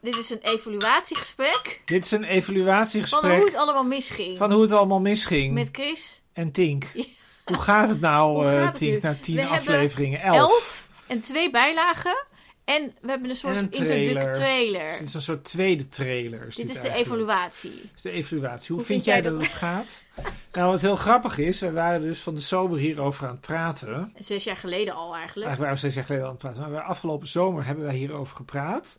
Dit is een evaluatiegesprek Dit is een van hoe evaluatiegesprek het allemaal misging. van hoe het allemaal misging. Met Chris. En Tink. Ja. Hoe gaat het nou, Hoe eh, gaat het Tink, nu? na tien We hebben afleveringen? Elf. Elf. En twee bijlagen. En we hebben een soort En een introduc- trailer. trailer. Dus dit is een soort tweede trailer. Dit is de eigenlijk. evaluatie. Dit is de evaluatie. Hoe, Hoe vind, jij dat, het gaat? nou, wat heel grappig is, we waren dus van de sober hierover aan het praten. Zes jaar geleden al eigenlijk. Eigenlijk waren we zes jaar geleden aan het praten. Maar we- afgelopen zomer hebben wij hierover gepraat.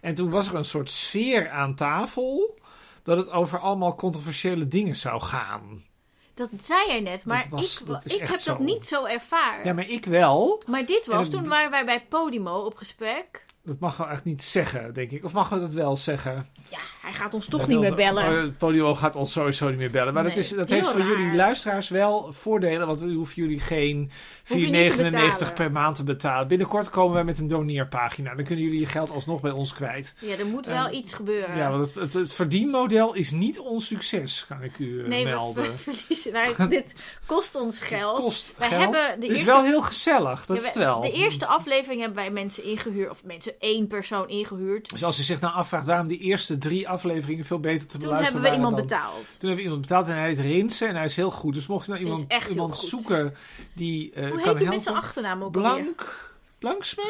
En toen was er een soort sfeer aan tafel dat het over allemaal controversiële dingen zou gaan. Dat zei jij net, maar was- ik, dat is ik echt heb zo. dat niet zo ervaren. Ja, maar... maar ik wel. dit was, En- toen waren wij bij Podimo op gesprek. Dat mag we echt niet zeggen, denk ik. Of mag we dat wel zeggen? Ja, hij gaat ons toch Dat niet wil- meer bellen. Oh, het Polio gaat ons sowieso niet meer bellen. Maar dat, Nee, is, dat heel heeft voor raar. jullie luisteraars wel voordelen. Want we hoeven jullie geen je niet te 4,99 betalen. per maand te betalen. Binnenkort komen wij met een doneerpagina. Dan kunnen jullie je geld alsnog bij ons kwijt. Ja, er moet wel Eh, iets gebeuren. Ja, want het, het, het verdienmodel is niet ons succes, kan ik u eh, nee, we, melden. we verliezen. wij- dit kost ons geld. Het kost Wij geld. hebben de het is eerste- wel heel gezellig, dat Ja, is we- het wel. De eerste aflevering hebben wij mensen ingehuurd, of mensen één persoon ingehuurd. Dus als u zich nou afvraagt waarom die eerste drie afleveringen veel beter te Toen beluisteren hebben we waren iemand dan- Eh, betaald. Toen hebben we iemand betaald en hij heet Rinsen en hij is heel goed. Dus mocht je nou Hij is iemand, echt heel iemand goed. zoeken die eh, Hoe kan heet die helpen. mensen achternaam ook alweer? Blank, Blanksma?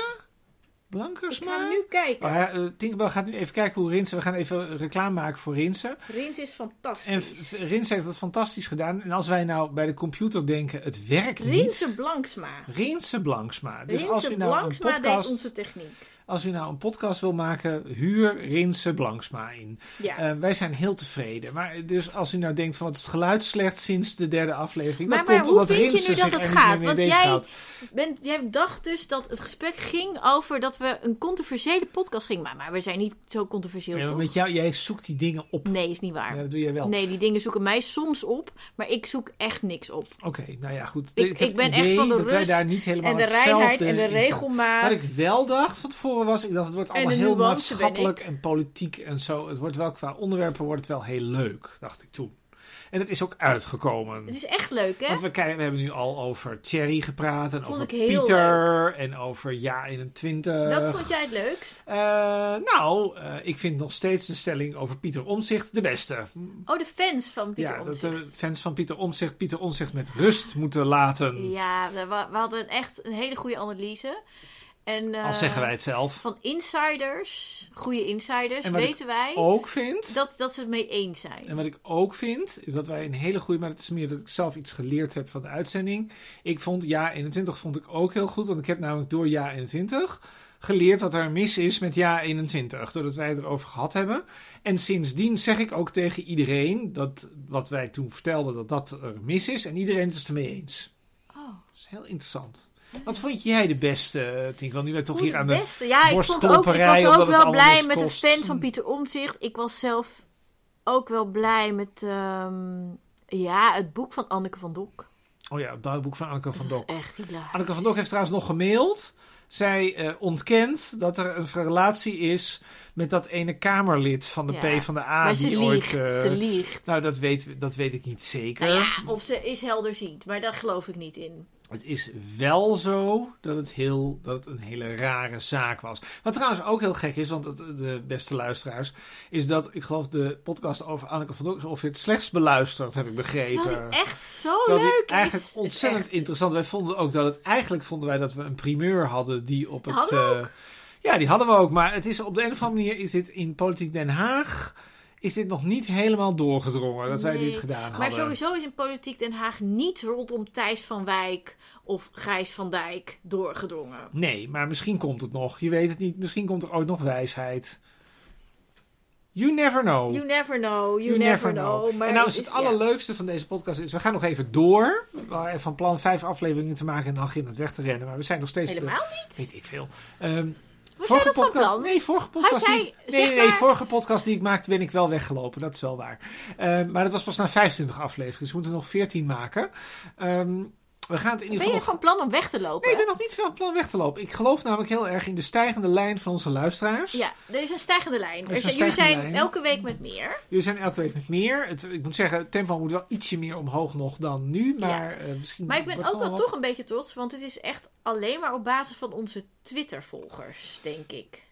Ik ga Blankersma? nu kijken. Oh, ja, eh, Tinkerbell gaat nu even kijken hoe Rinsen... We gaan even reclame maken voor Rinsen. Rins is En fantastisch. v- Rinsen heeft dat fantastisch gedaan. En als wij nou bij de computer denken, het werkt Rinse niet... Blanksma. Rinsen Blanksma. Dus als Rinse u, nou een Blanksma deed podcast, onze techniek. als u nou een podcast wil maken, huur Rinsen Blanksma in. Ja. Eh, wij zijn heel tevreden. Maar dus als u nou denkt van wat is het geluid slecht sinds de derde aflevering. Maar- dat maar komt hoe omdat vind je Rinsen nu dat zich het er niet meer gaat? mee Want jij- bezighoudt. Ben, jij dacht dus dat het gesprek ging over dat we een controversiële podcast gingen maken. Maar we zijn niet zo controversieel, Ja, maar toch? met jou, jij zoekt die dingen op. Nee, is niet waar. Ja, dat doe jij wel. nee, die dingen zoeken mij soms op, maar ik zoek echt niks op. Oké, nou ja, goed. Ik- heb het ik ben idee echt van de dat wij rust daar niet helemaal En de hetzelfde reinheid en de in staan. Wat regelmaat. ik wel dacht van tevoren was, ik dacht het wordt de allemaal heel nuance ben maatschappelijk en politiek en zo. Het wordt wel qua onderwerpen wordt het wel heel leuk, dacht ik toen. En het is ook uitgekomen. Het is echt leuk, hè? Want we, kijken, we hebben nu al over Thierry gepraat en Vond over ik heel Pieter en over Ja 21. Welk vond jij het leukst? Eh, nou, eh, ik vind nog steeds de stelling over Pieter Omzicht de beste. Oh, de fans van Pieter ja, Omtzigt. dat eh, de fans van Pieter Omzicht Pieter Omzicht met rust moeten laten. Ja, we, we hadden echt een hele goede analyse. En, eh, al zeggen wij het zelf. Van insiders, goede insiders, En wat ik weten wij Ook vind. dat, dat ze het mee eens zijn. En wat ik ook vind, is dat wij een hele goede, maar het is meer dat ik zelf iets geleerd heb van de uitzending. Ik vond Ja 21 vond ik ook heel goed, want ik heb namelijk door Ja 21 geleerd wat er mis is met Ja 21, doordat wij het erover gehad hebben. En sindsdien zeg ik ook tegen iedereen dat wat wij toen vertelden, dat dat er mis is. En iedereen is het ermee eens. Oh. Dat is heel interessant. Wat vond jij de beste, Tink? Want nu wij toch Hoe hier aan de de... beste. Ja, ik, vond ook, ik was borstkloperij, omdat ook het wel allemaal blij niks met de kost. fans van Pieter Omtzigt. Ik was zelf ook wel blij met ehm, ja, het boek van Anneke van Dok. Oh ja, het bouwboek van Anke van dat is Dok. echt hilarisch. Anneke van Dok heeft trouwens nog gemaild. Zij eh, ontkent dat er een relatie is met dat ene Kamerlid van de Ja, P van de A. maar die ze ooit, liegt, eh, ze liegt. Nou, dat weet, dat weet ik niet zeker. Nou ja, of ze is helderziend, maar daar geloof ik niet in. Het is wel zo dat het, heel, dat het een hele rare zaak was. Wat trouwens ook heel gek is, want het, de beste luisteraars, is dat ik geloof de podcast over Anneke van Dok is ongeveer het slechtst beluisterd, heb ik begrepen. Terwijl dit echt zo Terwijl die Oh, leuk is. eigenlijk Het is ontzettend echt- interessant. Wij vonden ook dat het eigenlijk vonden wij dat we een primeur hadden die op het. Hadden we eh, ja, die hadden we ook. Maar het is op de een of andere manier is dit in politiek Den Haag is dit nog niet helemaal doorgedrongen dat wij Nee, dit gedaan Maar hadden. sowieso is in politiek Den Haag niet rondom Thijs van Wijk of Gijs van Dijk doorgedrongen. Nee, maar misschien komt het nog. Je weet het niet. Misschien komt er ooit nog wijsheid. You never know. You never know, you, Oh. You never know. Maar en nou is het ja. allerleukste van deze podcast is, we gaan nog even door. We waren van plan vijf afleveringen te maken en dan ging het weg te rennen. Maar we zijn nog steeds... Helemaal Weet ik veel. Ehm, Was vorige jij dat van podcast, plan? Nee, vorige podcast, jij, die, ik- zeg nee, nee, nee, maar- vorige podcast die ik maakte ben ik wel weggelopen. Dat is wel waar. Ehm, maar dat was pas na 25 afleveringen. Dus we moeten nog 14 maken. Ehm, we gaan het in Ben ieder geval... je nog- van plan om weg te lopen? Nee, ik ben nog niet van plan weg te lopen. Ik geloof namelijk heel erg in de stijgende lijn van onze luisteraars. Ja, er is een stijgende lijn. Er is Er een zijn- Jullie stijgende zijn lijn. elke week met meer. Jullie zijn elke week met meer. Het, ik moet zeggen, het tempo moet wel ietsje meer omhoog nog dan nu. Maar, eh, misschien Maar ik ben wordt het ook wel nog toch een beetje trots, want het is echt alleen maar op basis van onze Twitter-volgers, denk ik.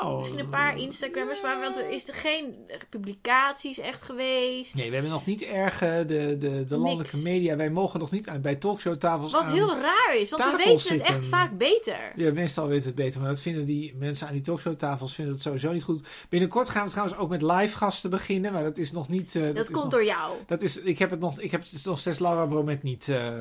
Nou, Misschien een paar Instagrammers, maar want er is er geen publicaties echt geweest. Nee, we hebben nog niet erg eh, de, de, de landelijke Niks. media. Wij mogen nog niet aan, bij talkshowtafels Wat aan... heel raar is, want we tafel weten zitten. het echt vaak beter. Ja, meestal weten het beter, maar dat vinden die mensen aan die talkshowtafels vinden het sowieso niet goed. Binnenkort gaan we trouwens ook met live gasten beginnen, maar dat is nog niet... eh, dat is komt nog- door jou. Dat is, ik heb het nog, ik heb het nog steeds Laura Bromet niet, eh,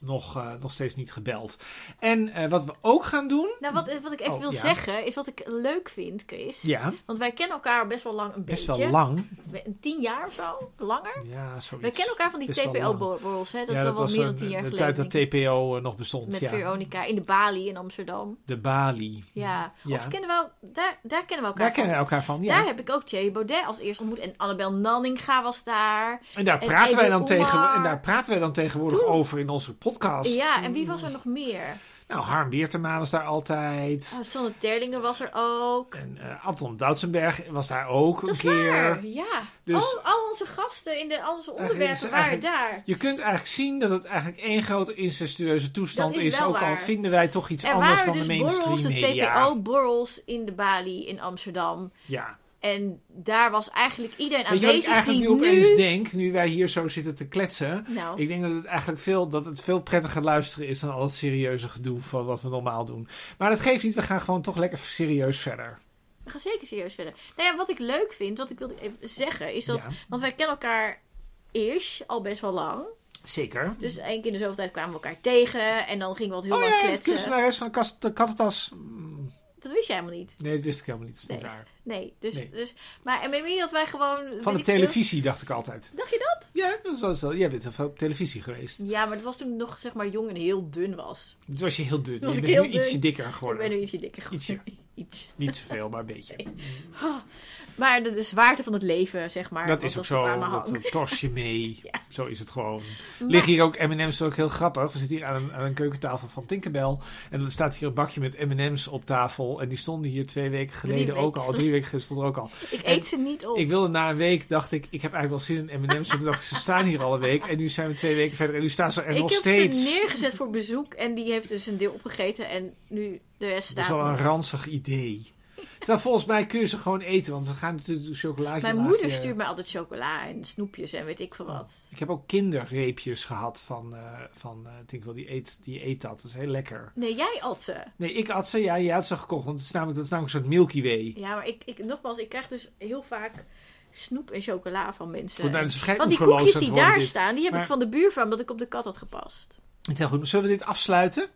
nog, eh, nog steeds niet gebeld. En eh, wat we ook gaan doen, Nou, wat, wat ik even Oh, wil ja. zeggen, is wat ik leuk vind, Chris. ja, Want wij kennen elkaar best wel lang een best beetje. wel lang. We- Een tien jaar of zo? Langer? Ja, zoiets. We kennen elkaar van die Best wel lang. TPO-borrels, hè? Dat ja, is al wel meer dan een- tien jaar de geleden. tijd dat denk ik. TPO eh, nog bestond, Met ja. Veronica in de Bali in Amsterdam. De Bali. Ja. Ja. Of kennen we, el- daar, daar kennen we elkaar Daar van. kennen we elkaar van, ja. Daar heb ik ook Thierry Baudet als eerst ontmoet. En Annabel Nanninga was daar. en, daar en praten wij Ebe dan tegen, Oemar. en daar praten wij dan tegenwoordig Toen. over in onze podcast. Ja, en wie was er nog meer? Nou, Harm Beertema was daar altijd. Oh, Sanne Terlingen was er ook. En eh, Anton Doutsenberg was daar ook Oh. Dat een is keer. waar, ja. Dus- al, al onze gasten in de, al onze Eigenlijk is onderwerpen het waren eigenlijk- daar. Je kunt eigenlijk zien dat het eigenlijk één grote incestueuze toestand Dat is. is wel ook al waar. vinden wij toch iets Er anders waren dan dus de borrels, mainstream de media. Nou, TPO-borrels in de Bali in Amsterdam. Ja. En daar was eigenlijk iedereen Weet je wat ik aanwezig eigenlijk die nu nu... opeens denk, nu wij hier zo zitten te kletsen? Nou, Ik denk dat het eigenlijk veel, dat het veel prettiger luisteren is dan al het serieuze gedoe van wat we normaal doen. Maar dat geeft niet, we gaan gewoon toch lekker serieus verder. we gaan zeker serieus verder. Nou ja, wat ik leuk vind, wat ik wilde even zeggen, is dat... Ja, Want wij kennen elkaar ish al best wel lang. zeker. Dus één keer in de zoveel tijd kwamen we elkaar tegen. En dan gingen we wat heel oh lang ja, de kletsen. kunstenares van de kast- de kattentas. Mm, Dat wist jij helemaal niet. Nee, dat wist ik helemaal niet. Dat is niet Nee. waar. Nee. Dus, Nee. dus, maar en weet je dat wij gewoon... Van de weet ik veel- televisie dacht ik altijd. Dacht je dat? Ja, dat was wel, jij bent heel veel op televisie geweest. Ja, maar dat was toen ik nog zeg maar jong en heel dun was. Toen was je heel dun. Toen was je ik bent heel nu dun. ietsje dikker Ik ben geworden. nu ietsje dikker geworden. Iets. Niet zoveel, maar een beetje. Maar de, de zwaarte van het leven, zeg maar. dat wat is ook tot aan zo. me Dat eh, hangt. dat torst je mee. Ja. Zo is het gewoon. Maar- Liggen hier ook M&M's, dat is ook heel grappig. We zitten hier aan een, aan een keukentafel van Tinkerbell. En er staat hier een bakje met M&M's op tafel. En die stonden hier twee weken Drie geleden weken Oh. ook al. Drie weken geleden stond er ook al. Ik eet ze niet op. Ik wilde na een week, dacht ik, ik heb eigenlijk wel zin in M&M's. Want toen dacht ik, ze staan hier al een week. En nu zijn we twee weken verder. En nu staan ze er Ik nog heb steeds. ze neergezet voor bezoek en die heeft dus een deel opgegeten en nu de rest Dat is wel staat. een ranzig idee. Terwijl volgens mij kun je ze gewoon eten, want ze gaan natuurlijk een chocolaatje Mijn laagje- Oh. moeder stuurt mij altijd chocola en snoepjes en weet ik veel wat. Ik heb ook kinderreepjes gehad van, eh van eh Tinkerbell. Die eet, die eet dat. Dat is heel lekker. Nee, jij at ze. Nee, ik had ze. Ja, jij had ze gekocht. Want het is namelijk, dat is namelijk een soort Milky Way. Ja, maar ik, ik, nogmaals, ik krijg dus heel vaak snoep en chocola van mensen. Goed, nou, het is vrij Want die oeverloos koekjes aan die het worden, daar dit. staan, die heb Maar- ik van de buurvrouw omdat ik op de kat had gepast. Niet Heel goed. Maar Zullen we dit afsluiten?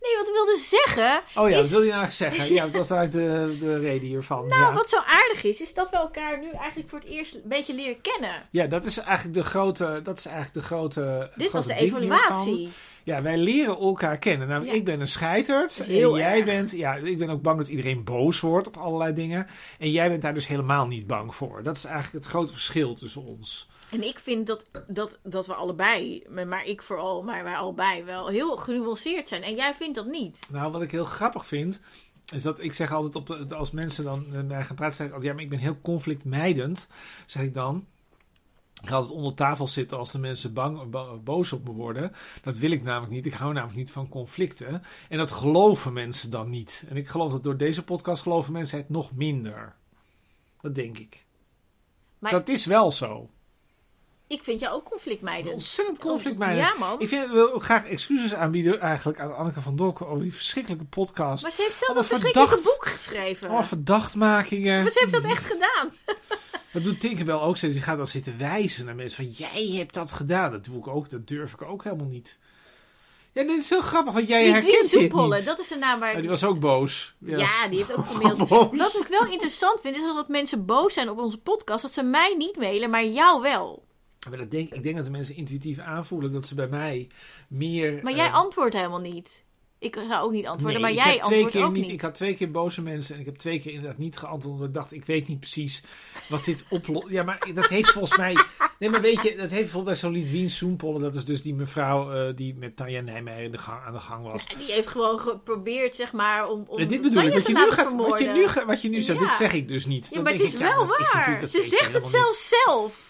Nee, wat ik wilde zeggen, Oh ja, Is- Nou, dat wil je nou eigenlijk zeggen. Ja, dat was daar de, de reden hiervan. ja. wat zo aardig is, is dat we elkaar nu eigenlijk voor het eerst een beetje leren kennen. ja, dat is eigenlijk de grote. Dat is eigenlijk de grote het Dit was grote de ding hiervan. evaluatie. Ja, wij leren elkaar kennen. Nou, Ja. ik ben een scheiterd. Heel en jij erg. bent, ja, ik ben ook bang dat iedereen boos wordt op allerlei dingen. En jij bent daar dus helemaal niet bang voor. Dat is eigenlijk het grote verschil tussen ons. En ik vind dat, dat, dat we allebei, maar- maar ik vooral, maar wij allebei wel heel genuanceerd zijn. En jij vindt dat niet. Nou, wat ik heel grappig vind, is dat ik zeg altijd, op, als mensen dan met mij gaan praten, zeg ik altijd, ja, maar ik ben heel conflictmijdend, zeg ik dan. Ik ga altijd onder tafel zitten als de mensen bang, ba- boos op me worden. Dat wil ik namelijk niet. Ik hou namelijk niet van conflicten. En dat geloven mensen dan niet. En ik geloof dat door deze podcast geloven mensen het nog minder. Dat denk ik. Maar Dat is wel zo. ik vind jou ook conflictmeiden. Ontzettend conflictmijdend. Ja, man. Ik vind, ik wil ook graag excuses aanbieden eigenlijk aan Anneke van Dok over die verschrikkelijke podcast. Maar ze heeft zelf Allemaal een verschrikkelijk verdacht. boek geschreven. Allemaal Oh, verdachtmakingen. maar ze heeft dat echt gedaan. Dat doet Tinkerbell ook steeds. Die gaat dan zitten wijzen naar mensen van jij hebt dat gedaan. Dat doe ik ook. Dat durf ik ook helemaal niet. Ja, dit is heel grappig, want jij die Dwien herkent dit Zoepholle, niet. dat is de naam waar Maar ik... die was ook boos. Ja. Ja, die heeft ook gemaild. Boos. Wat ik wel interessant vind, is dat mensen boos zijn op onze podcast. Dat ze mij niet mailen, maar jou wel. Maar dat denk, ik denk dat de mensen intuïtief aanvoelen dat ze bij mij meer... Maar jij eh, antwoordt helemaal niet. Ik zou ook niet antwoorden, nee, maar ik jij heb twee antwoordt keer ook niet, niet. Ik had twee keer boze mensen en ik heb twee keer inderdaad niet geantwoord. Omdat ik dacht, ik weet niet precies wat dit oplost. Ja, maar dat heeft volgens mij... Nee, maar weet je, dat heeft bijvoorbeeld bij zo'n Lidwien Soempollen. Dat is dus die mevrouw eh, die met Tanja Nijmeijer in de gang, aan de gang was. En Die heeft gewoon geprobeerd, zeg maar, om, om Ja, dit bedoel ik. Tanja Wat te je, nu laten gaat, vermoorden. wat, je nu, ga- wat je nu zegt, Ja. dit zeg ik dus niet. Ja, Dan maar het denk is ik, ja, wel dat is waar. natuurlijk- dat Ze weet je zegt het helemaal niet. zelfs zelf.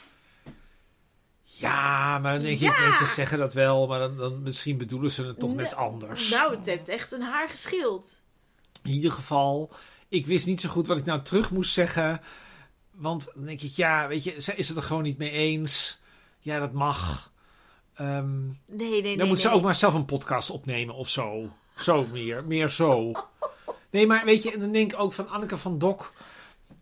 Ja, maar dan denk ik, Ja. mensen zeggen dat wel, maar dan, dan misschien bedoelen ze het toch net Nee, anders. Nou, het heeft echt een haar geschild. In ieder geval, ik wist niet zo goed wat ik nou terug moest zeggen. Want dan denk ik, ja, weet je, zij is het er gewoon niet mee eens. Ja, dat mag. Ehm, Nee, nee, nee. dan moet ze nee. ook maar zelf een podcast opnemen of zo. Zo meer, meer zo. Nee, maar weet je, en dan denk ik ook van Anneke van Dok.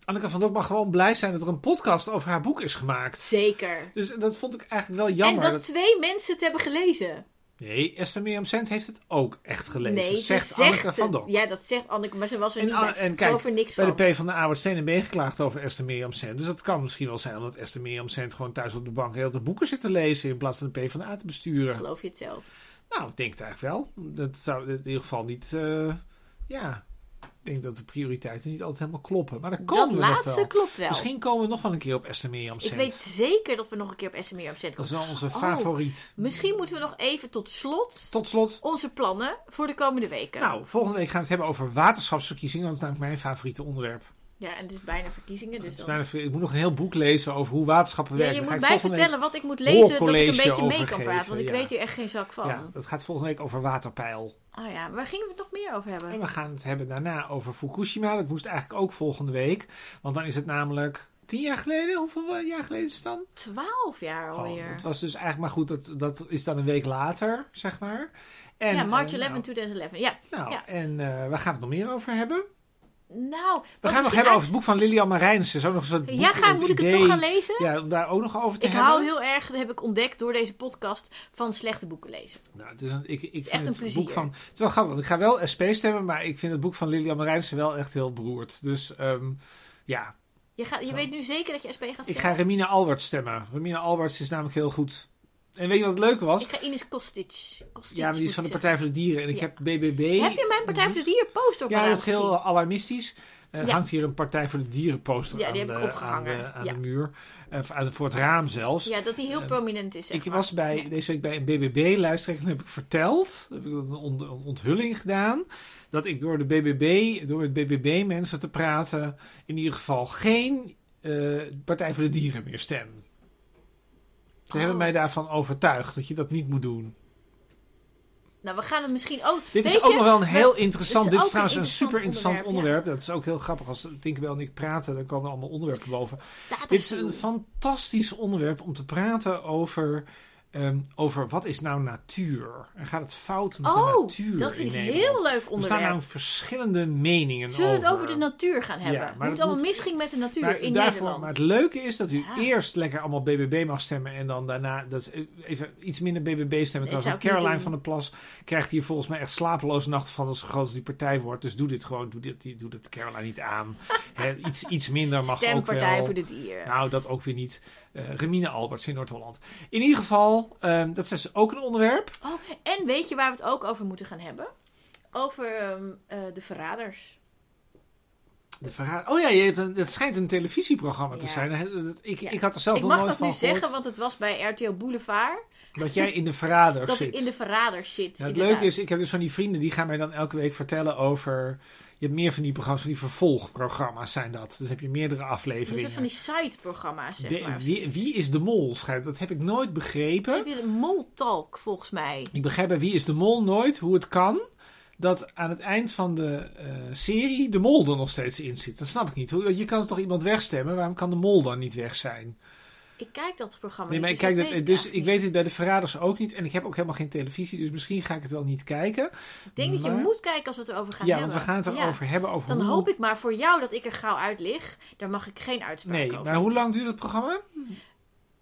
Anneke van Dok mag gewoon blij zijn dat er een podcast over haar boek is gemaakt. Zeker. Dus dat vond ik eigenlijk wel jammer. en dat, dat- twee mensen het hebben gelezen. Nee, Esther Mirjam Cent heeft het ook echt gelezen. nee, ze zegt zegt Anneke van het. Dok. Ja, dat zegt Anneke, maar ze was er En, niet An- bij. en Ik geloof kijk, er niks bij van. de P van de A wordt steen en been geklaagd over Esther Mirjam Cent. Dus dat kan misschien wel zijn omdat Esther Mirjam Cent gewoon thuis op de bank heel de boeken zit te lezen in plaats van de P van de A te besturen. Geloof je het zelf? Nou, ik denk het eigenlijk wel. Dat zou in ieder geval niet. eh, ja, ik denk dat de prioriteiten niet altijd helemaal kloppen. Maar dan komen dat we nog laatste wel. klopt wel. Misschien komen we nog wel een keer op Esther Mirjam ik Cent. weet zeker dat we nog een keer op SME op zet Dat is komen. wel onze Oh. favoriet. Misschien moeten we nog even tot slot Tot slot. onze plannen voor de komende weken. Nou, volgende week gaan we het hebben over waterschapsverkiezingen. Want dat is namelijk mijn favoriete onderwerp. Ja, en het is bijna verkiezingen, dus Het is dan... bijna ver- ik moet nog een heel boek lezen over hoe waterschappen Ja, werken. je Daar moet ga mij ik volgende vertellen wat ik moet week lezen, dat ik een hoorcollege beetje mee over kan praten. Want ik geven, ja. weet hier echt geen zak van. Ja, dat gaat volgende week over waterpeil. Oh ja, waar gingen we het nog meer over En hebben? we gaan het hebben daarna over Fukushima. Dat moest eigenlijk ook volgende week. Want dan is het namelijk tien jaar geleden. Hoeveel eh, jaar geleden is het dan? Twaalf jaar Oh, alweer. het was dus eigenlijk maar goed. Dat, dat is dan een week later, zeg maar. En, ja, March eh, 11, 2011. Ja, Nou, nou, ja. en eh, waar gaan we het nog meer over hebben? We nou... gaan het nog hebben over het boek van Lilian Marijnissen. Zo nog eens dat boek, Ja, ga, dat moet ik het idee- toch gaan lezen? Ja, om daar ook nog over te ik hebben. hou heel erg, dat heb ik ontdekt door deze podcast, van slechte boeken lezen. Nou, het is een, ik, ik vind echt een het plezier. boek van. Het is wel grappig, want ik ga wel SP stemmen, maar ik vind het boek van Lilian Marijnissen wel echt heel beroerd. Dus ehm, ja, Je, gaat, je Zo. weet nu zeker dat je SP gaat ik stemmen? ga Remina Albert stemmen. Remina Albert is namelijk heel goed. En weet je wat het leuke was? Ik ga Ines Kostic. Kostic ja, maar die moet is van de ik Partij voor de Dieren en ik Ja. heb BBB. Heb je mijn Partij voor de Dieren poster op Ja, mijn dat is raam heel gezien? alarmistisch. Er Ja. hangt hier een Partij voor de Dieren poster Ja, die aan, heb ik de, aan, opgehangen. de, aan Ja. de muur. Eh, aan de- voor het raam zelfs. Ja, dat die heel Eh, prominent is. zeg Ik maar. was bij, Ja. deze week bij een BBB-luister en toen heb ik verteld, heb ik een on- een onthulling gedaan, dat ik door, de BBB, door met BBB-mensen te praten in ieder geval geen eh, Partij voor de Dieren meer stem. Ze Oh. hebben mij daarvan overtuigd dat je dat niet moet doen. Nou, we gaan het misschien ook. Weet Dit is ook je, nog wel een we- heel interessant. is Dit ook een is trouwens een interessant super interessant onderwerp, onderwerp. Dat is ook heel grappig. Als Tinkerbell en ik praten, dan komen er allemaal onderwerpen boven. data Dit is streaming. een fantastisch onderwerp om te praten over, ehm, over wat is nou natuur? En gaat het fout met de Oh, natuur dat in vind ik een Nederland? heel leuk Er staan onderwerp. nou verschillende meningen Zullen we over. het over de natuur gaan hebben? eh, maar Hoe dat het allemaal moet- misging met de natuur maar, in daarvoor- Nederland. maar het leuke is dat u Ja. eerst lekker allemaal BBB mag stemmen en dan daarna dat is eh, even iets minder BBB stemmen. zou Trouwens, want ik niet Caroline doen. van der Plas krijgt hier volgens mij echt slapeloze nachten van als zo groot als die partij wordt. Dus doe dit gewoon, doe dit, doe dit Caroline niet aan. Hè, iets, iets minder mag ook wel. Stempartij voor de dieren. Nou, dat ook weer niet. Eh Remine Alberts in Noord-Holland. In ieder geval, ehm, dat is dus ook een onderwerp. Oh, en weet je waar we het ook over moeten gaan hebben? Over ehm, eh, de verraders. De verhaal... Oh ja, je hebt een, het schijnt een televisieprogramma te Ja. zijn. Hè, dat- Ik, Ja. ik had er zelf ik nog mag nooit dat nu van gehoord. zeggen, want het was bij RTL Boulevard Dat jij in de verrader dat zit. ik in de verraders zit. Nou, het inderdaad. leuke is, ik heb dus van die vrienden, die gaan mij dan elke week vertellen over... Je hebt meer van die programma's, van die vervolgprogramma's zijn dat. Dus heb je meerdere Het is afleveringen. een van die site-programma's, zeg De- maar. wie, wie is de mol? schijnt- Dat heb ik nooit begrepen. Heb je de moltalk, volgens mij. Ik begrijp bij Wie is de Mol nooit hoe het kan dat aan het eind van de eh, serie de mol er nog steeds in zit. Dat snap ik niet. Hoe- Je kan toch iemand wegstemmen? Waarom kan de mol dan niet weg zijn? Ik kijk Oh, dat programma Nee, maar ik niet, kijk, dus dat, dat weet dus ik eigenlijk weet het bij de Verraders ook niet. En ik heb ook helemaal geen televisie, dus misschien ga ik het wel niet kijken. niet. Ik denk dat je maar- moet kijken als we het erover gaan ja, hebben. want we gaan het Ja. erover hebben. Over Dan hoe- hoop ik maar voor jou dat ik er gauw uit lig. Daar mag ik geen uitspraak Nee, over. maar hoe lang duurt het programma?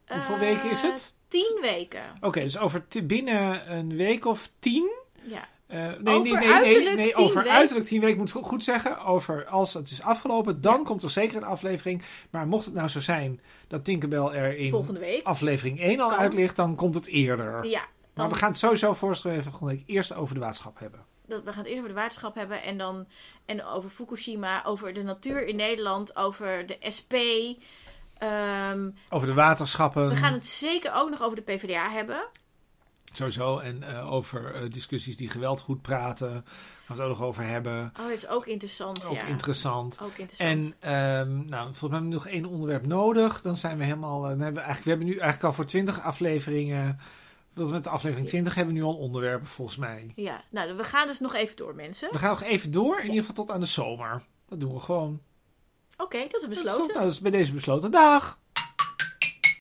Eh, hoeveel weken is het? Tien weken. Oké, dus over t- binnen een week of tien Ja. Eh, nee, nee, Over nee, nee, uiterlijk nee, tien over week- uiterlijk tien weken moet ik goed zeggen. Over als het is afgelopen, dan komt er zeker een aflevering. Maar mocht het nou zo zijn dat Tinkerbell er in Volgende week. aflevering 1 al Kan. uit ligt, dan komt het eerder. Ja. Oh. Maar Dan, we gaan het sowieso voorstellen volgende week eerst over de waterschap hebben. dat, we gaan het eerst over de waterschap hebben. En dan en over Fukushima. Over de natuur in Nederland. Over de SP. Ehm, Over de waterschappen we gaan het zeker ook nog over de PvdA hebben. sowieso. En eh, over eh, discussies die geweld goed praten. Gaan we het ook nog over hebben. Oh, dat is ook interessant. Ook ja. interessant. Ook interessant. En ehm, nou, volgens mij hebben we nog één onderwerp nodig. Dan zijn we helemaal. eh, dan hebben we, eigenlijk, we hebben nu eigenlijk al voor 20 afleveringen. Tot en met de aflevering 20 hebben we nu al onderwerpen volgens mij. Ja, nou, we gaan dus nog even door, mensen. We gaan nog even door, in ieder geval tot aan de zomer. Dat Dat doen we gewoon. Oké, dat is Dat is- besloten. nou, dat is bij deze besloten. Dag!